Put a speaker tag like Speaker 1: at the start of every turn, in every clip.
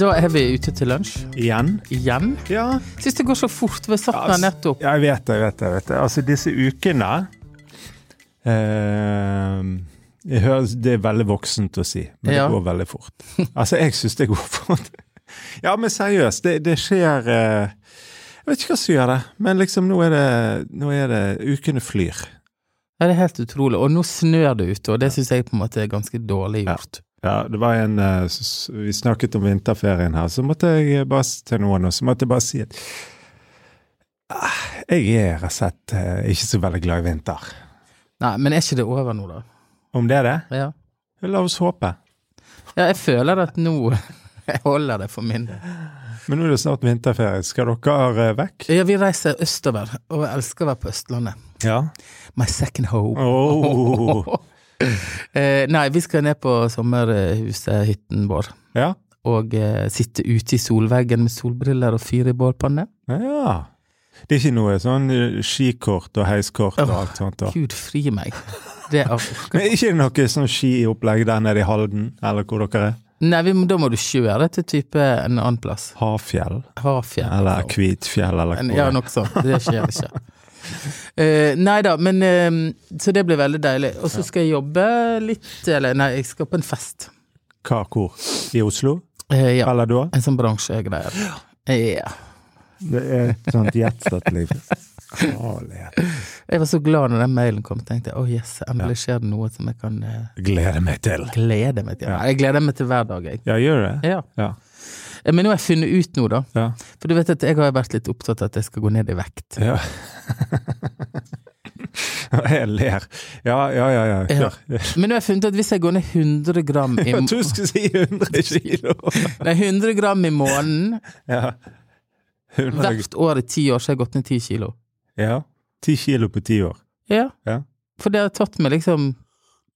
Speaker 1: Da er vi ute til lunsj
Speaker 2: Igjen?
Speaker 1: igjen.
Speaker 2: Ja.
Speaker 1: Syns det går så fort. Vi satt der nettopp.
Speaker 2: Ja, jeg vet det, jeg vet det. Jeg vet det. Altså, disse ukene eh, jeg hører, Det er veldig voksent å si, men
Speaker 1: Ja.
Speaker 2: det går veldig fort. Altså, jeg syns det går fort. Ja, men seriøst, det, det skjer eh, Jeg vet ikke hva som gjør det, men liksom nå er det, nå er det Ukene flyr.
Speaker 1: Ja, det er helt utrolig. Og nå snør det ute, og det syns jeg på en måte er ganske dårlig gjort.
Speaker 2: Ja, det var en eh, s- s- Vi snakket om vinterferien her, så måtte jeg eh, bare s- til noen, og så måtte jeg bare si at ah, jeg er rett og slett eh, ikke så veldig glad i vinter.
Speaker 1: Nei, men er ikke det over nå, da?
Speaker 2: Om det er det?
Speaker 1: Ja,
Speaker 2: La oss håpe.
Speaker 1: ja jeg føler at nå holder det for min del.
Speaker 2: Men nå er det snart vinterferie. Skal dere eh, vekk?
Speaker 1: Ja, vi reiser østover, og jeg elsker å være på Østlandet.
Speaker 2: Ja.
Speaker 1: My second home.
Speaker 2: Oh.
Speaker 1: Eh, nei, vi skal ned på sommerhuset, hytten vår,
Speaker 2: Ja.
Speaker 1: og eh, sitte ute i solveggen med solbriller og fyre i bålpanne.
Speaker 2: ja. Det er ikke noe sånn eh, skikort og heiskort og alt sånt. Da.
Speaker 1: Gud, fri meg. Det er
Speaker 2: Men er ikke det noe sånn skiopplegg der nede i Halden, eller hvor dere er?
Speaker 1: Nei, vi, må- da må du kjøre til type en annen plass.
Speaker 2: Hafjell?
Speaker 1: Hafjell.
Speaker 2: Eller Kvitfjell, eller
Speaker 1: En-
Speaker 2: hvor?
Speaker 1: Ja, noe sånt. Det skjer ikke. Uh, nei da, men eh, Så det blir veldig deilig. Og så skal jeg jobbe litt, eller nei, jeg skal på en fest.
Speaker 2: Hva, hvor? I Oslo?
Speaker 1: Eh, ja.
Speaker 2: Eller da?
Speaker 1: En sånn bransjegreier. Ja.
Speaker 2: Det er et sånt jetset-liv. Herlighet.
Speaker 1: Jeg var så glad når den mailen kom. Tenkte jeg, oh yes, endelig skjer det noe som jeg kan eh,
Speaker 2: Gleder meg til.
Speaker 1: glede meg til. Nei, Jeg gleder meg til hver dag, jeg.
Speaker 2: Ja, gjør det?
Speaker 1: Ja.
Speaker 2: Ja.
Speaker 1: Eh, Men nå har jeg funnet ut noe, da.
Speaker 2: ja.
Speaker 1: For du vet at jeg har jo vært litt opptatt av at jeg skal gå ned i vekt.
Speaker 2: ja. Jeg ler. Ja, ja, ja. ja. Kjør.
Speaker 1: Men nå har jeg funnet ut at hvis jeg går ned 100 gram i,
Speaker 2: Jeg
Speaker 1: må-
Speaker 2: tror du skulle si 100 kilo.
Speaker 1: nei, 100 gram i måneden
Speaker 2: Ja. 100
Speaker 1: hvert år i ti år, så har jeg gått ned 10 kilo.
Speaker 2: Ja. 10 kilo på 10 år.
Speaker 1: Ja.
Speaker 2: Ja.
Speaker 1: For det har tatt meg liksom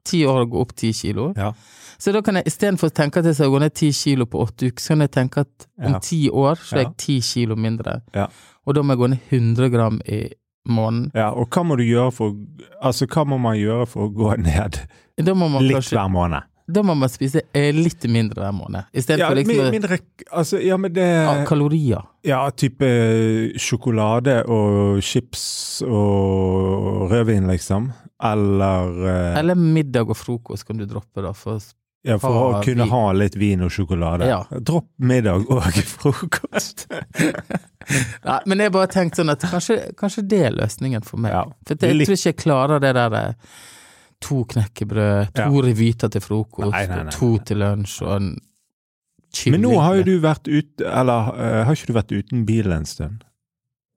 Speaker 1: ti år å gå opp ti kilo.
Speaker 2: Ja.
Speaker 1: Så da kan jeg istedenfor å tenke at jeg skal gå ned ti kilo på åtte uker, så kan jeg tenke at om
Speaker 2: Ja.
Speaker 1: ti år så er jeg
Speaker 2: Ja.
Speaker 1: ti kilo mindre.
Speaker 2: Ja.
Speaker 1: Og da må jeg gå ned 100 gram i måneden.
Speaker 2: ja. Og hva må du gjøre for Altså, hva må man gjøre for å gå ned
Speaker 1: Da må man
Speaker 2: litt
Speaker 1: kanskje
Speaker 2: hver måned?
Speaker 1: Da må man spise eh, litt mindre hver måned.
Speaker 2: Ja,
Speaker 1: Istedenfor
Speaker 2: mi-
Speaker 1: liksom å-
Speaker 2: mindre Altså, ja, men det
Speaker 1: av kalorier.
Speaker 2: Ja, type eh, sjokolade og chips og rødvin, liksom. Eller eh,
Speaker 1: Eller middag og frokost kan du droppe, da. For
Speaker 2: Ja, for å
Speaker 1: ha
Speaker 2: kunne
Speaker 1: vin.
Speaker 2: ha litt vin og sjokolade.
Speaker 1: Ja.
Speaker 2: Dropp middag og frokost.
Speaker 1: Nei, men jeg bare tenkte sånn at kanskje, kanskje det er løsningen for meg.
Speaker 2: Ja.
Speaker 1: For jeg,
Speaker 2: Litt-
Speaker 1: tror ikke jeg klarer det der eh, to knekkebrød, to
Speaker 2: Ja.
Speaker 1: revyter til frokost,
Speaker 2: Nei, nei, nei,
Speaker 1: og to til lunsj og en kylling.
Speaker 2: Men nå har jo du vært ute Eller eh, har ikke du vært uten bil en stund?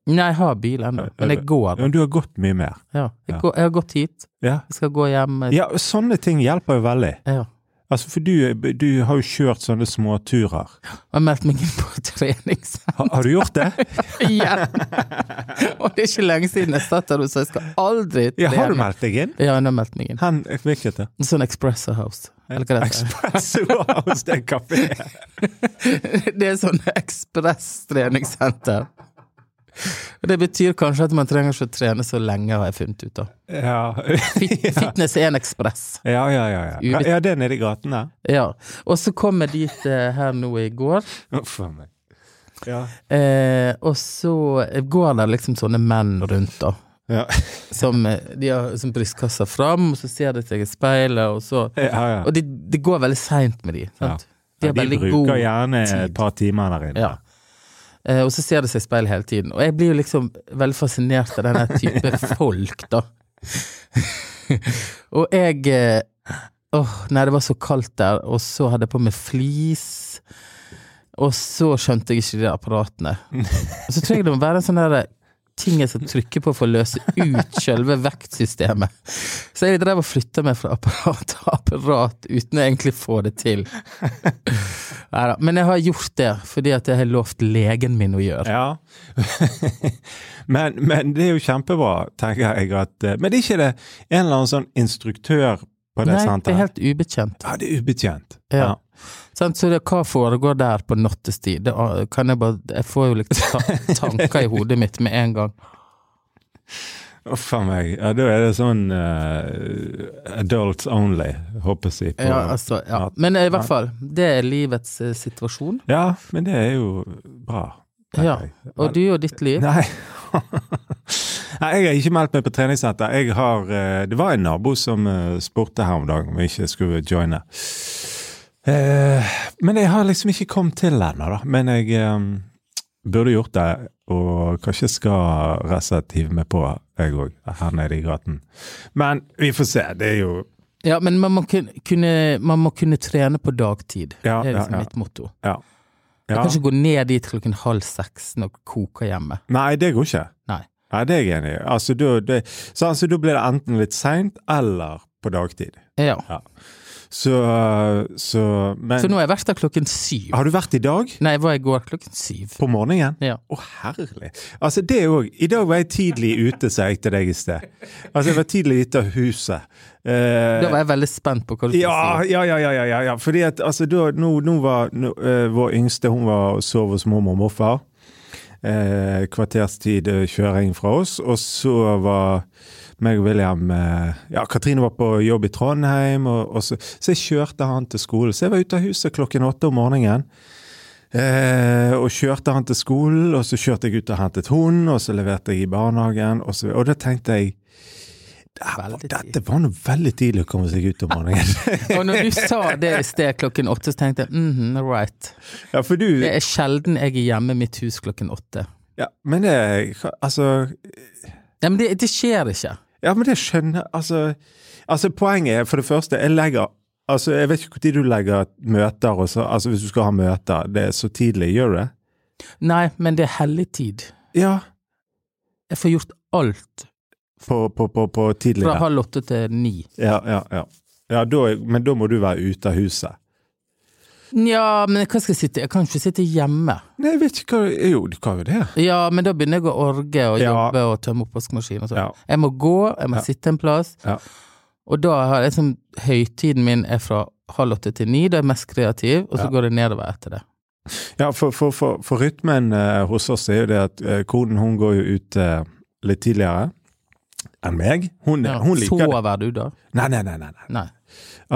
Speaker 1: Nei, jeg har bil ennå, men jeg går.
Speaker 2: Men du har gått mye mer.
Speaker 1: Ja. Jeg,
Speaker 2: Ja.
Speaker 1: går, jeg har gått hit,
Speaker 2: Ja.
Speaker 1: jeg skal gå hjem. eh,
Speaker 2: Ja, sånne ting hjelper jo veldig.
Speaker 1: Ja.
Speaker 2: Altså, for du, du har jo kjørt sånne småturer.
Speaker 1: Og jeg meldte meg inn på treningssenter
Speaker 2: Har, har du gjort det?
Speaker 1: igjen! og det er ikke lenge siden jeg satt der og sa jeg skal aldri
Speaker 2: Ja, har du
Speaker 1: trene.
Speaker 2: meldt deg inn?
Speaker 1: Ja, jeg har meldt meg inn.
Speaker 2: Hen, hvilket det?
Speaker 1: Sånn Expresso House. Eller hva det heter.
Speaker 2: Expresso House, det er en kafé.
Speaker 1: Det er sånn ekspress-treningssenter. Og Det betyr kanskje at man trenger ikke å trene så lenge, har jeg funnet ut av.
Speaker 2: Ja.
Speaker 1: Fit Fitness er en ekspress.
Speaker 2: ja, ja, ja. Ja, ja det er nede i gaten der.
Speaker 1: Ja. Og så kom jeg dit eh, her nå i går,
Speaker 2: Uff a meg. Ja.
Speaker 1: eh, og så går det liksom sånne menn rundt, da.
Speaker 2: Ja.
Speaker 1: Som, eh, de har som brystkassa fram, og så ser de seg i speilet, og så
Speaker 2: Ja, ja.
Speaker 1: Og det de går veldig seint med de. Sant? De
Speaker 2: Ja,
Speaker 1: har
Speaker 2: de
Speaker 1: veldig
Speaker 2: bruker
Speaker 1: god
Speaker 2: gjerne
Speaker 1: tid.
Speaker 2: et par timer der inne.
Speaker 1: Ja. Eh, og så ser det seg i speil hele tiden. Og jeg blir jo liksom veldig fascinert av denne type folk, da. og jeg eh, Åh, nei, det var så kaldt der, og så hadde jeg på meg flis. Og så skjønte jeg ikke de apparatene. Og så tror jeg det må være en sånn derre ting jeg skal trykke på for å løse ut selve vektsystemet. Så jeg drev og flytta meg fra apparat til apparat uten å egentlig få det til. Neida, Men jeg har gjort det fordi at jeg har lovt legen min å gjøre.
Speaker 2: Ja. men, men det er jo kjempebra, tenker jeg. At, eh, men det er ikke det en eller annen sånn instruktør på det
Speaker 1: Nei, det er
Speaker 2: senteret?
Speaker 1: helt ubetjent.
Speaker 2: Ja, det er ubetjent.
Speaker 1: Ja. Sant? Så det, hva foregår der på nattestid? Det, ah, kan jeg bare Jeg får jo liksom ta, tanker i hodet mitt med en gang.
Speaker 2: Å, faen meg. Ja, da er det sånn eh, adults only, håper jeg. på-
Speaker 1: Ja, altså, ja. Men i hvert fall, det er livets eh, situasjon.
Speaker 2: Ja, men det er jo bra. tenker
Speaker 1: Ja,
Speaker 2: jeg.
Speaker 1: Og du og ditt liv.
Speaker 2: Nei. Nei, jeg har ikke meldt meg på treningssenter. Jeg har, eh, det var en nabo som eh, spurte her om dagen om jeg ikke skulle joine. Eh, Men jeg har liksom ikke kommet til ennå, da. Men jeg eh, burde gjort det. Og kanskje skal Resett hive meg på, jeg òg, her nede i gaten. Men vi får se. Det er jo
Speaker 1: Ja, men man må kun- kunne, man må kunne trene på dagtid. Det
Speaker 2: Ja,
Speaker 1: er
Speaker 2: ja,
Speaker 1: liksom
Speaker 2: ja.
Speaker 1: mitt motto.
Speaker 2: Ja.
Speaker 1: Jeg
Speaker 2: ja.
Speaker 1: kan ikke gå ned dit klokken halv seks når det koker hjemme.
Speaker 2: Nei, det går ikke.
Speaker 1: Nei.
Speaker 2: Nei, det er jeg enig i. Altså, da- det- så altså, da blir det enten litt seint eller på dagtid.
Speaker 1: Ja.
Speaker 2: Så, så Men
Speaker 1: Så nå har jeg vært der klokken syv.
Speaker 2: har du vært i dag?
Speaker 1: Nei, jeg var i går klokken syv.
Speaker 2: På morgenen?
Speaker 1: Ja.
Speaker 2: Å, herlig. Altså, det òg. I dag var jeg tidlig ute, sa jeg til deg i sted. Altså, jeg var tidlig ute av huset. Eh,
Speaker 1: Da var jeg veldig spent på hva du skulle
Speaker 2: ja,
Speaker 1: si.
Speaker 2: ja, ja, ja, ja, ja, ja. Fordi at altså, da, nå, nå var nå, eh, vår yngste hun var og sov hos mormor og morfar. Eh, kvarterstid eh, kjøring fra oss. Og så var meg og William eh, Ja, Katrine var på jobb i Trondheim, og, og så, så jeg kjørte han til skolen. Så jeg var ute av huset klokken åtte om morgenen. Eh, og kjørte han til skolen, og så kjørte jeg ut og hentet hun, og så leverte jeg i barnehagen. Og, så, og da tenkte jeg
Speaker 1: Veldig tidlig.
Speaker 2: dette var nå veldig tidlig å komme seg ut om morgenen.
Speaker 1: Og når du sa det i sted klokken åtte, så tenkte jeg mhm, right.
Speaker 2: Ja, for du
Speaker 1: Det er sjelden jeg er hjemme i mitt hus klokken åtte.
Speaker 2: ja, Men det Altså
Speaker 1: Nei, men det, det skjer ikke.
Speaker 2: Ja, men det skjønner Altså, altså poenget er for det første, jeg legger Altså, jeg vet ikke når du legger møter og så Altså, hvis du skal ha møter, det er så tidlig, gjør du det?
Speaker 1: Nei, men det er hellig tid.
Speaker 2: Ja.
Speaker 1: Jeg får gjort alt
Speaker 2: På, på, på, på
Speaker 1: fra
Speaker 2: tidligere.
Speaker 1: halv åtte til ni.
Speaker 2: Ja, ja, ja. ja da, men da må du være ute av huset.
Speaker 1: Nja, men hva skal jeg sitte Jeg kan ikke sitte hjemme.
Speaker 2: Nei, jeg vet ikke hva Jo, du kan jo det.
Speaker 1: Ja, men da begynner jeg å orge og
Speaker 2: Ja.
Speaker 1: jobbe og tømme oppvaskmaskinen og sånn.
Speaker 2: Ja.
Speaker 1: Jeg må gå, jeg må
Speaker 2: Ja.
Speaker 1: sitte en plass.
Speaker 2: Ja.
Speaker 1: Og da har jeg liksom Høytiden min er fra halv åtte til ni, da er jeg mest kreativ, og så
Speaker 2: Ja.
Speaker 1: går det nedover etter det.
Speaker 2: Ja, for, for, for, for rytmen eh, hos oss er jo det at eh, konen hun går jo ut eh, litt tidligere enn meg. Hun,
Speaker 1: Ja.
Speaker 2: hun liker det.
Speaker 1: Sover du da?
Speaker 2: Nei, nei, nei, nei. nei.
Speaker 1: Nei.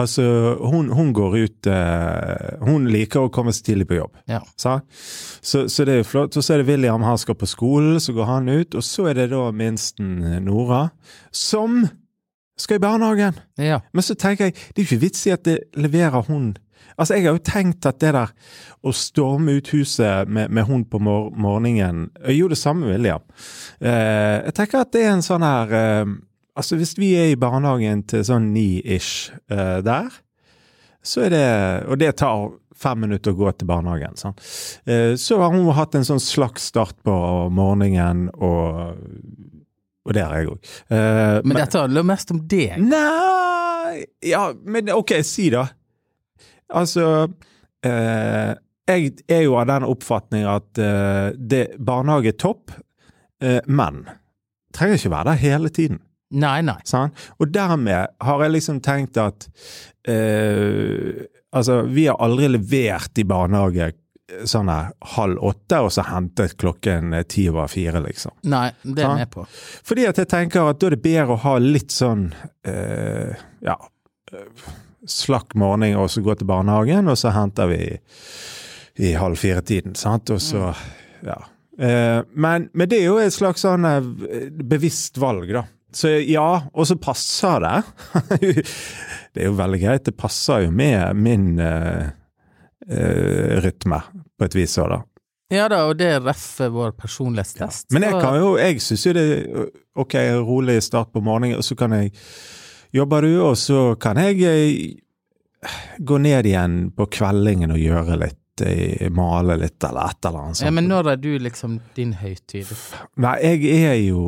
Speaker 2: Altså, hun, hun går ut eh, Hun liker å komme seg tidlig på jobb.
Speaker 1: Ja.
Speaker 2: sa? Så, så det er jo flott. Og så er det William, han skal på skolen, så går han ut. Og så er det da minsten eh, Nora, som skal i barnehagen.
Speaker 1: Ja.
Speaker 2: Men så tenker jeg, det er jo ikke vits i at det leverer hun. Altså, jeg har jo tenkt at det der å storme ut huset med, med hun på mor morgenen Jeg gjorde det samme med William. Eh, jeg tenker at det er en sånn her eh, Altså, hvis vi er i barnehagen til sånn ni-ish eh, der, så er det Og det tar fem minutter å gå til barnehagen. Sånn. Eh, så har hun hatt en sånn slags start på morgenen, og, og det har jeg òg. Eh,
Speaker 1: Men dette handler mest om
Speaker 2: Mm.
Speaker 1: deg.
Speaker 2: Nei Ja, men ok, si da. Altså eh, Jeg er jo av den oppfatning at eh, det, barnehage er topp, eh, men trenger ikke være der hele tiden.
Speaker 1: Nei, nei.
Speaker 2: Sant? Og dermed har jeg liksom tenkt at eh, Altså, vi har aldri levert i barnehage eh, sånn her halv åtte, og så hentet klokken eh, ti over fire, liksom.
Speaker 1: Nei, det er
Speaker 2: Sant?
Speaker 1: jeg med på.
Speaker 2: Fordi at jeg tenker at da er det bedre å ha litt sånn eh, ja, eh, slakk morgen og så gå til barnehagen, og så henter vi i halv fire-tiden, sant? Og så, ja. Eh, men, men det er jo et slags sånn eh, bevisst valg, da. Så ja, og så passer det. det er jo veldig greit. Det passer jo med min eh, eh, rytme, på et vis òg, da.
Speaker 1: Ja da, og det reffer vår personlighetstest.
Speaker 2: Men jeg
Speaker 1: Så-
Speaker 2: kan jo, jeg syns jo det er ok, rolig start på morgenen, og så kan jeg jobbe du, og så kan jeg eh, gå ned igjen på kveldingen og gjøre litt, eh, male litt eller et eller annet sånt.
Speaker 1: ja, Men når er du liksom din høytid?
Speaker 2: Nei, jeg er jo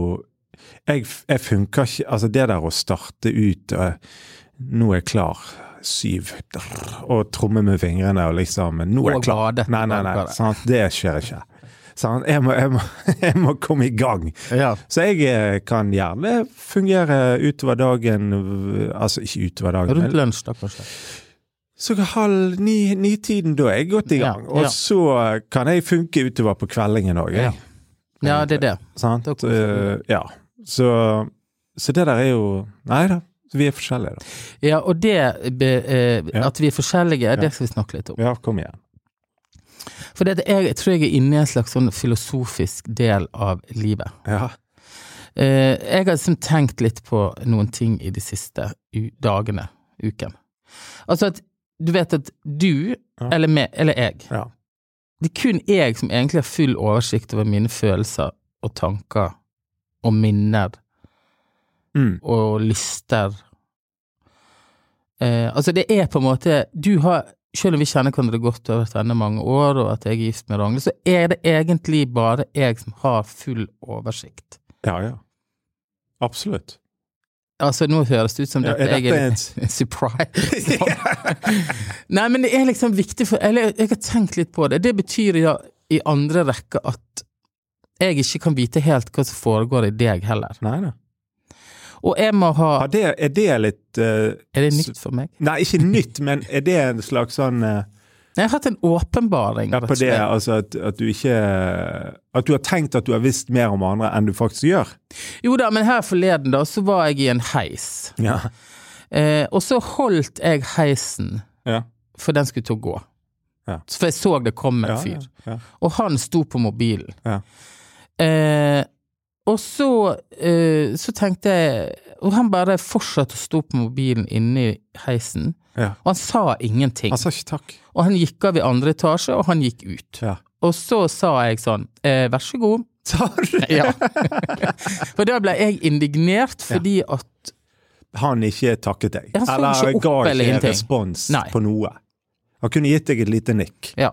Speaker 2: jeg, jeg funker ikke Altså, det der å starte ut eh, Nå er jeg klar. Syv. drr, Og tromme med fingrene og liksom Nå
Speaker 1: Og
Speaker 2: er jeg klar.
Speaker 1: bade.
Speaker 2: Nei, nei, nei.
Speaker 1: Badekaret.
Speaker 2: Sant? Det skjer ikke. Sant? Jeg, må, jeg, må, jeg må komme i gang.
Speaker 1: Ja.
Speaker 2: Så jeg eh, kan gjerne fungere utover dagen v- Altså ikke utover dagen,
Speaker 1: Rundt
Speaker 2: men
Speaker 1: lunsj, da, kanskje.
Speaker 2: så halv ni- ni-tiden, da er jeg godt i
Speaker 1: Ja,
Speaker 2: gang. Og
Speaker 1: ja.
Speaker 2: så kan jeg funke utover på kveldingen òg.
Speaker 1: Ja. Ja, det er det.
Speaker 2: Sant?
Speaker 1: Da koser du
Speaker 2: Eh, ja. Så, så det der er jo Nei da, vi er forskjellige, da.
Speaker 1: Ja, og det be- eh,
Speaker 2: Ja.
Speaker 1: At vi er forskjellige, det skal vi snakke litt om.
Speaker 2: Ja, kom igjen.
Speaker 1: For det, at jeg tror jeg er inne i en slags sånn filosofisk del av livet.
Speaker 2: Ja.
Speaker 1: Eh, jeg har liksom tenkt litt på noen ting i de siste u dagene, uken. Altså at du vet at du,
Speaker 2: Ja.
Speaker 1: eller, meg, eller jeg
Speaker 2: Ja.
Speaker 1: Det er kun jeg som egentlig har full oversikt over mine følelser og tanker og minner
Speaker 2: Mm.
Speaker 1: og lyster. Eh, altså, det er på en måte Du har Selv om vi kjenner hverandre godt over denne mange år, og at jeg er gift med Ragnhild, så er det egentlig bare jeg som har full oversikt.
Speaker 2: ja, ja. Absolutt.
Speaker 1: Altså, nå høres det ut som
Speaker 2: Ja,
Speaker 1: dette,
Speaker 2: er
Speaker 1: jeg er
Speaker 2: dette
Speaker 1: Surprise! Nei, men det er liksom viktig for Eller jeg har tenkt litt på det. Det betyr ja, i andre rekke at jeg ikke kan vite helt hva som foregår i deg heller.
Speaker 2: Nei da.
Speaker 1: Og jeg må ha
Speaker 2: Ja, det, er det litt eh,
Speaker 1: Er det nytt for meg?
Speaker 2: Nei, ikke nytt, men er det en slags sånn eh,
Speaker 1: Jeg har hatt en åpenbaring.
Speaker 2: Ja,
Speaker 1: rett
Speaker 2: på
Speaker 1: og
Speaker 2: det,
Speaker 1: slett.
Speaker 2: altså at, at du ikke At du har tenkt at du har visst mer om andre enn du faktisk gjør.
Speaker 1: Jo da, men her forleden da, så var jeg i en heis.
Speaker 2: Ja.
Speaker 1: Eh, og så holdt jeg heisen,
Speaker 2: Ja.
Speaker 1: for den skulle til å gå.
Speaker 2: Ja.
Speaker 1: For jeg så det kom en
Speaker 2: Ja,
Speaker 1: fyr.
Speaker 2: ja.
Speaker 1: Og han sto på mobilen.
Speaker 2: Ja.
Speaker 1: Eh, og så, eh, så tenkte jeg Og han bare fortsatte å stå på mobilen inne i heisen.
Speaker 2: Ja.
Speaker 1: Og han sa ingenting.
Speaker 2: Han sa Altså, ikke takk.
Speaker 1: Og han gikk av i andre etasje, og han gikk ut.
Speaker 2: Ja.
Speaker 1: Og så sa jeg sånn, eh, vær så god.
Speaker 2: Sa du?
Speaker 1: Ja. For da ble jeg indignert, fordi at
Speaker 2: Han ikke takket deg.
Speaker 1: Ja, han så ikke opp eller
Speaker 2: ga
Speaker 1: ingenting.
Speaker 2: ikke respons
Speaker 1: Nei.
Speaker 2: på noe. Han kunne gitt deg et lite nikk.
Speaker 1: Ja.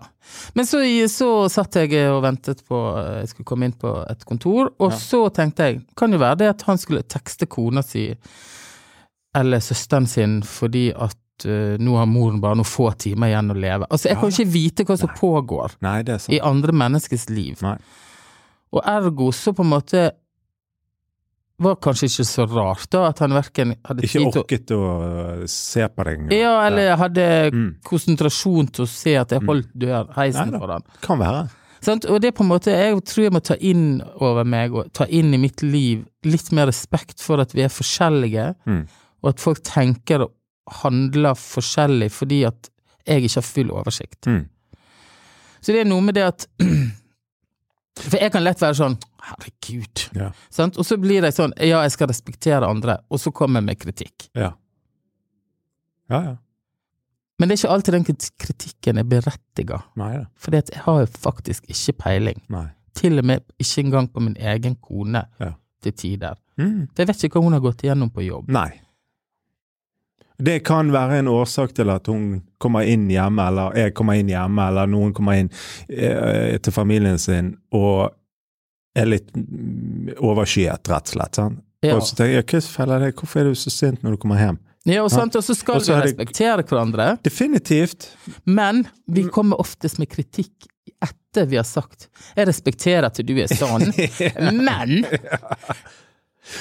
Speaker 1: Men så, så satt jeg og ventet på eh, Jeg skulle komme inn på et kontor, og så tenkte jeg Kan jo være det at han skulle tekste kona si eller søsteren sin fordi at eh, nå har moren bare noen få timer igjen å leve. Altså, jeg kan jo ikke vite hva som pågår
Speaker 2: Nei, Sånn. det er sant.
Speaker 1: i andre menneskes liv.
Speaker 2: Nei.
Speaker 1: Og ergo så på en måte var kanskje ikke så rart da at han verken hadde
Speaker 2: Ikke
Speaker 1: tid til å
Speaker 2: orket å eh, se på deg. engang.
Speaker 1: Ja, eller jeg hadde
Speaker 2: Mm.
Speaker 1: konsentrasjon til å se at jeg holdt dør, heisen
Speaker 2: Neida.
Speaker 1: foran.
Speaker 2: Kan være.
Speaker 1: Sant? Og det er på en måte, jeg tror jeg må ta inn over meg, og ta inn i mitt liv, litt mer respekt for at vi er forskjellige,
Speaker 2: Mm.
Speaker 1: og at folk tenker og handler forskjellig fordi at jeg ikke har full oversikt.
Speaker 2: Mm.
Speaker 1: Så det er noe med det at For jeg kan lett være sånn Herregud.
Speaker 2: Ja.
Speaker 1: Sant? Og så blir jeg sånn Ja, jeg skal respektere andre, og så kommer jeg med kritikk.
Speaker 2: Ja. ja, ja.
Speaker 1: Men det er ikke alltid den krit- kritikken er berettiga.
Speaker 2: Nei da.
Speaker 1: Fordi at jeg har jo faktisk ikke peiling.
Speaker 2: Nei.
Speaker 1: Til og med ikke engang på min egen kone
Speaker 2: Ja.
Speaker 1: til tider.
Speaker 2: Mm.
Speaker 1: For jeg vet ikke hva hun har gått igjennom på jobb.
Speaker 2: Nei. Det kan være en årsak til at hun kommer inn hjemme, eller jeg kommer inn hjemme, eller noen kommer inn eh, til familien sin og er litt mm, overskyet, rett og slett. Sant?
Speaker 1: Ja.
Speaker 2: Og så tenker jeg, hva feiler deg? Hvorfor er du så sint når du kommer hjem?
Speaker 1: Ja, og, sant? og så skal
Speaker 2: Og så
Speaker 1: vi
Speaker 2: er det-
Speaker 1: respektere hverandre,
Speaker 2: Definitivt.
Speaker 1: men
Speaker 2: Mm.
Speaker 1: vi kommer oftest med kritikk etter vi har sagt 'jeg respekterer at du er sånn', men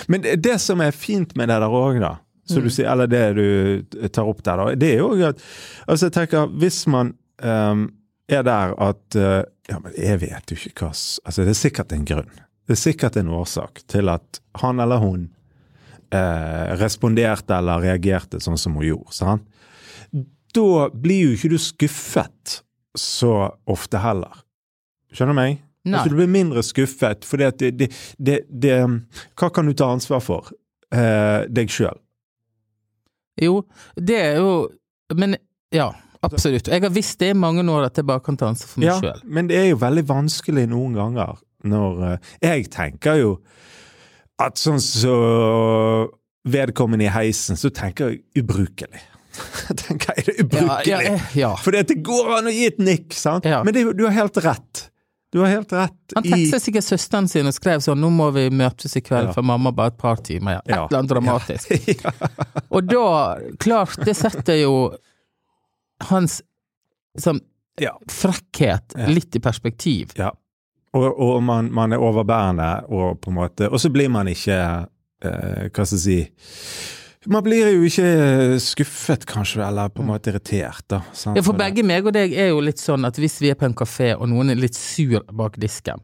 Speaker 2: Men det- det som er fint med det der òg, da, som du sier, eller det du tar opp der, da, det er jo at altså jeg tenker, Hvis man ehm, er der at eh, Ja, men jeg vet jo ikke hva s- altså Det er sikkert en grunn. Det er sikkert en årsak til at han eller hun eh, responderte eller reagerte sånn som hun gjorde. Sant? Da blir jo ikke du skuffet så ofte heller. Skjønner du meg?
Speaker 1: Nei.
Speaker 2: Altså, du blir mindre skuffet, for det, det, det, det Hva kan du ta ansvar for? Eh, deg sjøl.
Speaker 1: Jo, det er jo Men ja, absolutt. Jeg har visst det i mange år at jeg bare kan ta ansvar for meg
Speaker 2: Ja,
Speaker 1: sjøl.
Speaker 2: men det er jo veldig vanskelig noen ganger når eh, Jeg tenker jo at sånn så vedkommende i heisen, så tenker jeg ubrukelig. tenker jeg det er
Speaker 1: Ja,
Speaker 2: ubrukelig.
Speaker 1: ja, ja.
Speaker 2: For det går an å gi et nikk, sant?
Speaker 1: Ja.
Speaker 2: Men det, er jo- du har helt rett. Du har helt rett
Speaker 1: Han
Speaker 2: i
Speaker 1: tekstet sikkert søsteren sin og skrev sånn 'nå må vi møtes i kveld,
Speaker 2: Ja.
Speaker 1: for mamma bare et par timer'. Ja. Et
Speaker 2: Ja.
Speaker 1: eller annet dramatisk. Og da, klart, det setter jo hans sånn,
Speaker 2: Ja.
Speaker 1: frekkhet
Speaker 2: Ja.
Speaker 1: litt i perspektiv.
Speaker 2: Ja. Og, og man, man er overbærende, og på en måte Og så blir man ikke eh, Hva skal jeg si Man blir jo ikke skuffet, kanskje, eller på en måte irritert, da. sant?
Speaker 1: Ja, for begge meg og deg er jo litt sånn at hvis vi er på en kafé og noen er litt sur bak disken,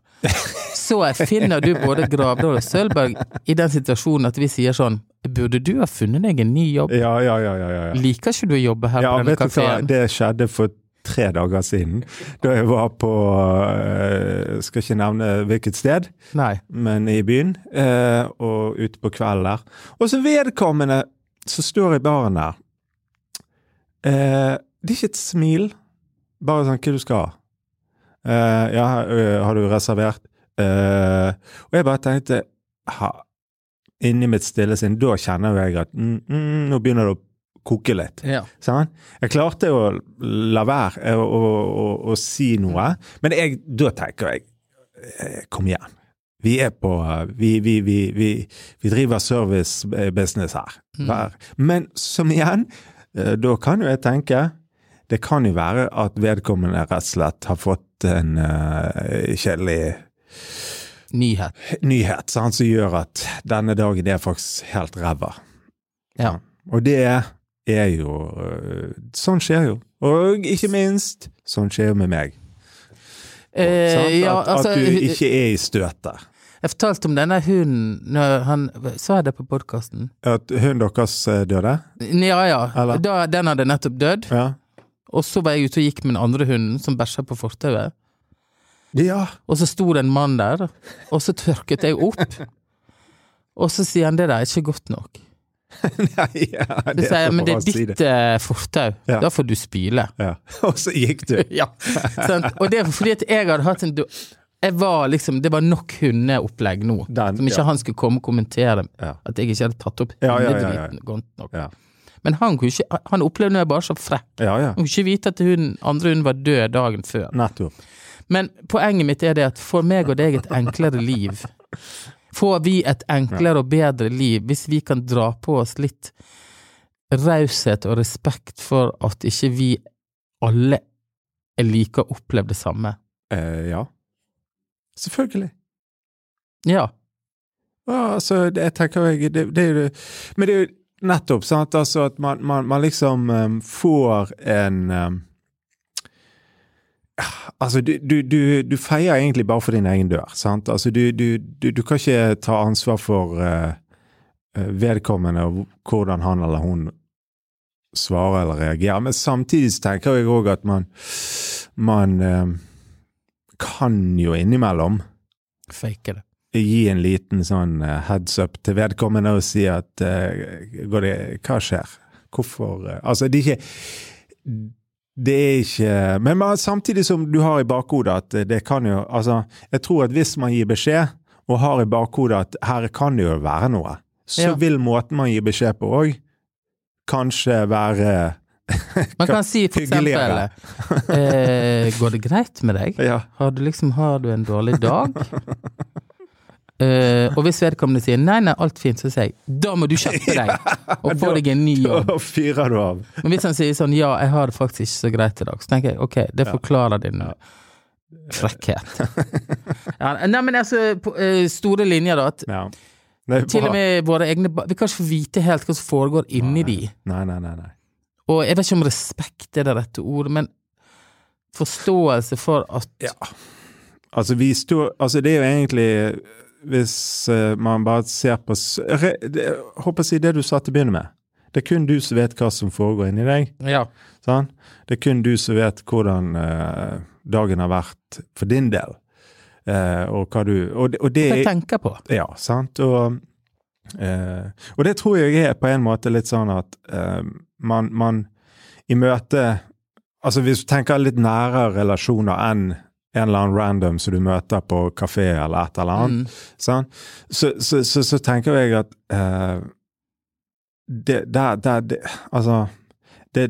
Speaker 1: Så finner du både Gravdal og Sølberg i den situasjonen at vi sier sånn Burde du ha funnet deg en ny jobb?
Speaker 2: Ja, ja, ja. ja, ja, ja.
Speaker 1: Liker ikke du å jobbe her
Speaker 2: ja
Speaker 1: på denne
Speaker 2: vet du hva,
Speaker 1: kafeen?
Speaker 2: det skjedde for tre dager siden. Da jeg var på eh, Skal ikke nevne hvilket sted.
Speaker 1: Nei.
Speaker 2: men i byen, eh, og ute på kvelden der. Og så vedkommende som står i baren der eh, Det er ikke et smil, bare sånn 'Hva du skal ha?' Eh, 'Ja, ø, har du reservert?' Eh, og jeg bare tenkte ha, Inni mitt stille sinn, da kjenner jo jeg at mm, mm, nå begynner det å koke litt.
Speaker 1: Ja.
Speaker 2: Sant? Jeg klarte å la være eh, å, å, å, å si noe, men jeg, da tenker jeg eh, Kom igjen. Vi er på eh, Vi, vi, vi, vi, vi driver servicebusiness her. Vær- Men som igjen, eh, da kan jo jeg tenke Det kan jo være at vedkommende rett og slett har fått en eh, kjedelig
Speaker 1: Nyhet.
Speaker 2: nyhet sant, som gjør at denne dagen er faktisk helt ræva.
Speaker 1: Ja.
Speaker 2: Og det er jo øh, Sånn skjer jo. Og ikke minst, sånn skjer jo med meg. sant?
Speaker 1: Eh, ja,
Speaker 2: at,
Speaker 1: altså,
Speaker 2: at du ikke er i støtet.
Speaker 1: Jeg fortalte om denne hunden når han Sa jeg det på podkasten?
Speaker 2: At hunden deres eh, døde?
Speaker 1: Ja ja.
Speaker 2: Eller?
Speaker 1: Da, den hadde nettopp dødd.
Speaker 2: Ja.
Speaker 1: Og så var jeg ute og gikk med den andre hunden som bæsja på fortauet.
Speaker 2: ja.
Speaker 1: Og så sto det en mann der, og så tørket jeg opp. Og så sier han det der er ikke godt nok.
Speaker 2: Nei, ja,
Speaker 1: Så
Speaker 2: det
Speaker 1: sier
Speaker 2: er
Speaker 1: jeg, men det
Speaker 2: på
Speaker 1: er
Speaker 2: hans side.
Speaker 1: ditt eh, fortau,
Speaker 2: Ja.
Speaker 1: da får du spyle.
Speaker 2: Ja. Og så gikk du.
Speaker 1: Ja. Sant? Og det er fordi at jeg hadde hatt en do- jeg var liksom, Det var nok hundeopplegg nå,
Speaker 2: Den,
Speaker 1: som ikke
Speaker 2: ja.
Speaker 1: han skulle komme og kommentere.
Speaker 2: Ja.
Speaker 1: At jeg ikke hadde tatt opp
Speaker 2: Ja, ja, ja, ja.
Speaker 1: hundedriten godt nok.
Speaker 2: Ja.
Speaker 1: Men han, kunne ikke, han opplevde når jeg bare så frekk.
Speaker 2: ja, ja.
Speaker 1: Han kunne ikke vite at hun, andre hunden var død dagen før.
Speaker 2: Nettopp.
Speaker 1: Men poenget mitt er det at får meg og deg et enklere liv, får vi et enklere og bedre liv hvis vi kan dra på oss litt raushet og respekt for at ikke vi alle er like og opplever det samme.
Speaker 2: Eh, ja. Selvfølgelig.
Speaker 1: Ja.
Speaker 2: Ja, altså, det, jeg tenker jeg, det, det er jo Men det er jo nettopp, sant, altså at man, man, man liksom em, får en em, Altså, du, du, du, du feier egentlig bare for din egen dør, sant. Altså, du, du, du, du kan ikke ta ansvar for eh, eh, vedkommende og hvordan han eller hun svarer eller reagerer, men samtidig så tenker jeg òg at man, man em, kan jo innimellom
Speaker 1: Fake det.
Speaker 2: gi en liten sånn eh, heads up til vedkommende og si at eh, går det, hva skjer? Hvorfor eh, Altså, det er ikke det er ikke Men man, samtidig som du har i bakhodet at eh, det kan jo Altså, jeg tror at hvis man gir beskjed, og har i bakhodet at her kan det jo være noe, så
Speaker 1: Ja.
Speaker 2: vil måten man gir beskjed på òg kanskje være
Speaker 1: Man kan si for eksempel
Speaker 2: Hyggeligere.
Speaker 1: eh, Går det greit med deg?
Speaker 2: Ja.
Speaker 1: Har du liksom Har du en dårlig dag? Eh, og hvis vedkommende sier nei, nei, alt fint, så sier jeg da må du skjerpe deg og få deg en ny jobb.
Speaker 2: Da fyrer du av.
Speaker 1: Men hvis han sier sånn ja, jeg har det faktisk ikke så greit i dag, så tenker jeg ok, det forklarer din eh, frekkhet. Ja, nei, men altså, på eh, store linjer, da. At
Speaker 2: Ja. Det er
Speaker 1: til og
Speaker 2: bra.
Speaker 1: med våre egne ba- Vi kan ikke få vite helt hva som foregår inni de.
Speaker 2: Nei, nei, nei. nei.
Speaker 1: Og jeg vet ikke om respekt er det rette ordet, men forståelse for at
Speaker 2: Altså, vi står, altså det er jo egentlig Hvis eh, man bare ser på s- re, det, jeg Håper å si det du sa til å begynne med. Det er kun du som vet hva som foregår inni deg.
Speaker 1: Ja.
Speaker 2: Sant? Det er kun du som vet hvordan eh, dagen har vært for din del. Eh, og hva du Og, det- og det
Speaker 1: Hva jeg
Speaker 2: er
Speaker 1: tenker på.
Speaker 2: ja, sant? Og, eh, og det tror jeg er på en måte litt sånn at eh, man, man i møte Altså hvis du tenker litt nære relasjoner enn en eller annen random som du møter på kafé eller et eller annet,
Speaker 1: Mm.
Speaker 2: sant? Så, så, så, så tenker jeg at eh, det, der, der, det, altså, det,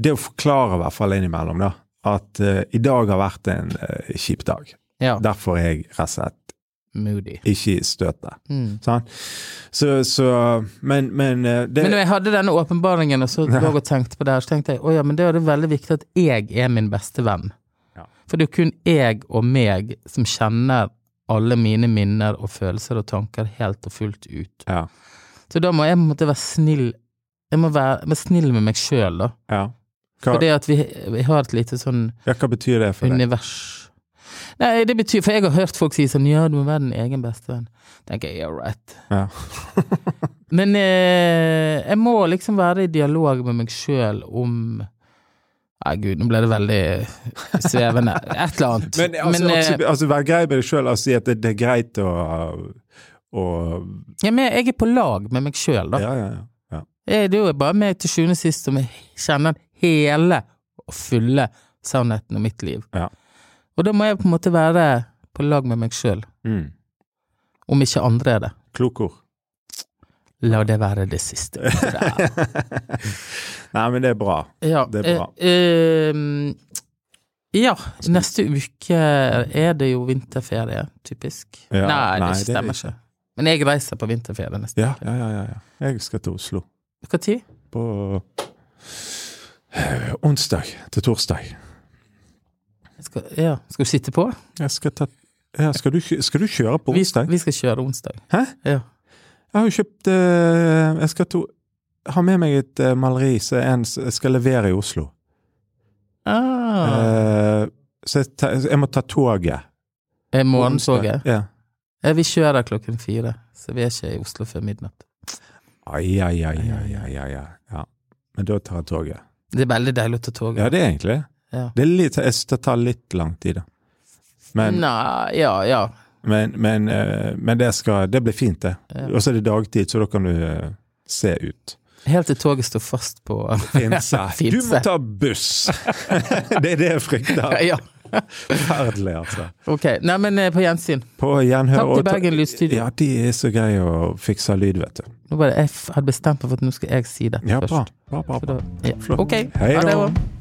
Speaker 2: det å forklare i hvert fall innimellom, da, at eh, i dag har vært en eh, kjip dag.
Speaker 1: Ja.
Speaker 2: Derfor er jeg rett og slett
Speaker 1: Moody.
Speaker 2: ikke i støtet.
Speaker 1: Mm.
Speaker 2: Sant? Så, så Men, men eh, det
Speaker 1: Men når jeg hadde denne åpenbaringen og så lå og tenkte på det her, så tenkte jeg å ja, men det er det veldig viktig at jeg er min beste venn.
Speaker 2: Ja.
Speaker 1: For det er jo kun jeg og meg som kjenner alle mine minner og følelser og tanker helt og fullt ut.
Speaker 2: Ja.
Speaker 1: Så da må jeg på en måte være snill Jeg må være, være snill med meg sjøl, da.
Speaker 2: ja. Hva,
Speaker 1: For det at vi, vi har et lite sånn eh,
Speaker 2: ja, hva betyr det for deg?
Speaker 1: univers Nei, det betyr, For jeg har hørt folk si sånn Ja, du må være din egen bestevenn. tenker jeg, yeah right.
Speaker 2: Ja.
Speaker 1: Men eh, jeg må liksom være i dialog med meg sjøl om Nei, gud, nå ble det veldig svevende. Et eller annet.
Speaker 2: Men altså,
Speaker 1: Men, eh,
Speaker 2: altså, altså vær grei med deg sjøl og si at det, det er greit å, å
Speaker 1: ja, men jeg er på lag med meg sjøl, da.
Speaker 2: Ja, ja, ja. ja.
Speaker 1: Jeg- Det er jo bare meg til sjuende og sist som kjenner den hele og fulle sannheten om mitt liv.
Speaker 2: Ja.
Speaker 1: Og da må jeg på en måte være på lag med meg sjøl,
Speaker 2: Mm.
Speaker 1: om ikke andre er det.
Speaker 2: Klokord.
Speaker 1: La det være det siste. ordet.
Speaker 2: Nei, men det er bra.
Speaker 1: Ja,
Speaker 2: Det er bra.
Speaker 1: eh, ehm, ja, neste uke er det jo vinterferie, typisk.
Speaker 2: Ja,
Speaker 1: nei,
Speaker 2: nei,
Speaker 1: det
Speaker 2: det er
Speaker 1: stemmer
Speaker 2: det
Speaker 1: ikke. Men jeg reiser på vinterferie neste
Speaker 2: Ja,
Speaker 1: uke.
Speaker 2: ja, ja. ja, ja. Jeg skal til Oslo
Speaker 1: Når?
Speaker 2: på eh, onsdag til torsdag.
Speaker 1: Skal, ja, skal du sitte på?
Speaker 2: Jeg skal ta ja, skal, du, kjø- skal du kjøre på
Speaker 1: Vi,
Speaker 2: onsdag?
Speaker 1: vi skal kjøre onsdag.
Speaker 2: Hæ?
Speaker 1: Ja.
Speaker 2: Jeg har jo kjøpt eh, Jeg skal to, ha med meg et eh, maleri som er en s- jeg skal levere i Oslo.
Speaker 1: Ah,
Speaker 2: Eh, så jeg, ta, jeg må ta toget.
Speaker 1: er
Speaker 2: på
Speaker 1: morgentoget?
Speaker 2: onsdag. Ja.
Speaker 1: Ja, vi kjører klokken fire, så vi er ikke i Oslo før midnatt.
Speaker 2: Ai, ai, ai, ai, ai, ai, ai. Ja. Men da tar jeg toget.
Speaker 1: Det er veldig deilig å ta toget.
Speaker 2: Ja, det er egentlig det.
Speaker 1: Ja.
Speaker 2: Det, er litt, jeg synes det tar litt lang tid, da. Men,
Speaker 1: Nei, ja, ja.
Speaker 2: men, men, eh, men det, skal, det blir fint, det.
Speaker 1: Ja.
Speaker 2: Og så er det dagtid, så da kan du eh, se ut.
Speaker 1: Helt til toget står fast på
Speaker 2: Finse.
Speaker 1: Finse.
Speaker 2: Du må ta buss! det er det jeg frykter.
Speaker 1: Ja,
Speaker 2: Forferdelig, altså.
Speaker 1: ok. Nei, men eh, på gjensyn.
Speaker 2: På gjenhør.
Speaker 1: Takk
Speaker 2: og
Speaker 1: til
Speaker 2: ta-
Speaker 1: Bergen Lydstudio.
Speaker 2: Ja, de er så greie å fikse lyd, vet du.
Speaker 1: Nå var det, jeg f- hadde bestemt meg for at nå skal jeg si dette
Speaker 2: Ja, bra.
Speaker 1: først.
Speaker 2: bra, bra,
Speaker 1: Så
Speaker 2: bra.
Speaker 1: da- Ja.
Speaker 2: Flott.
Speaker 1: Ok,
Speaker 2: Hei
Speaker 1: ha det
Speaker 2: da.
Speaker 1: bra.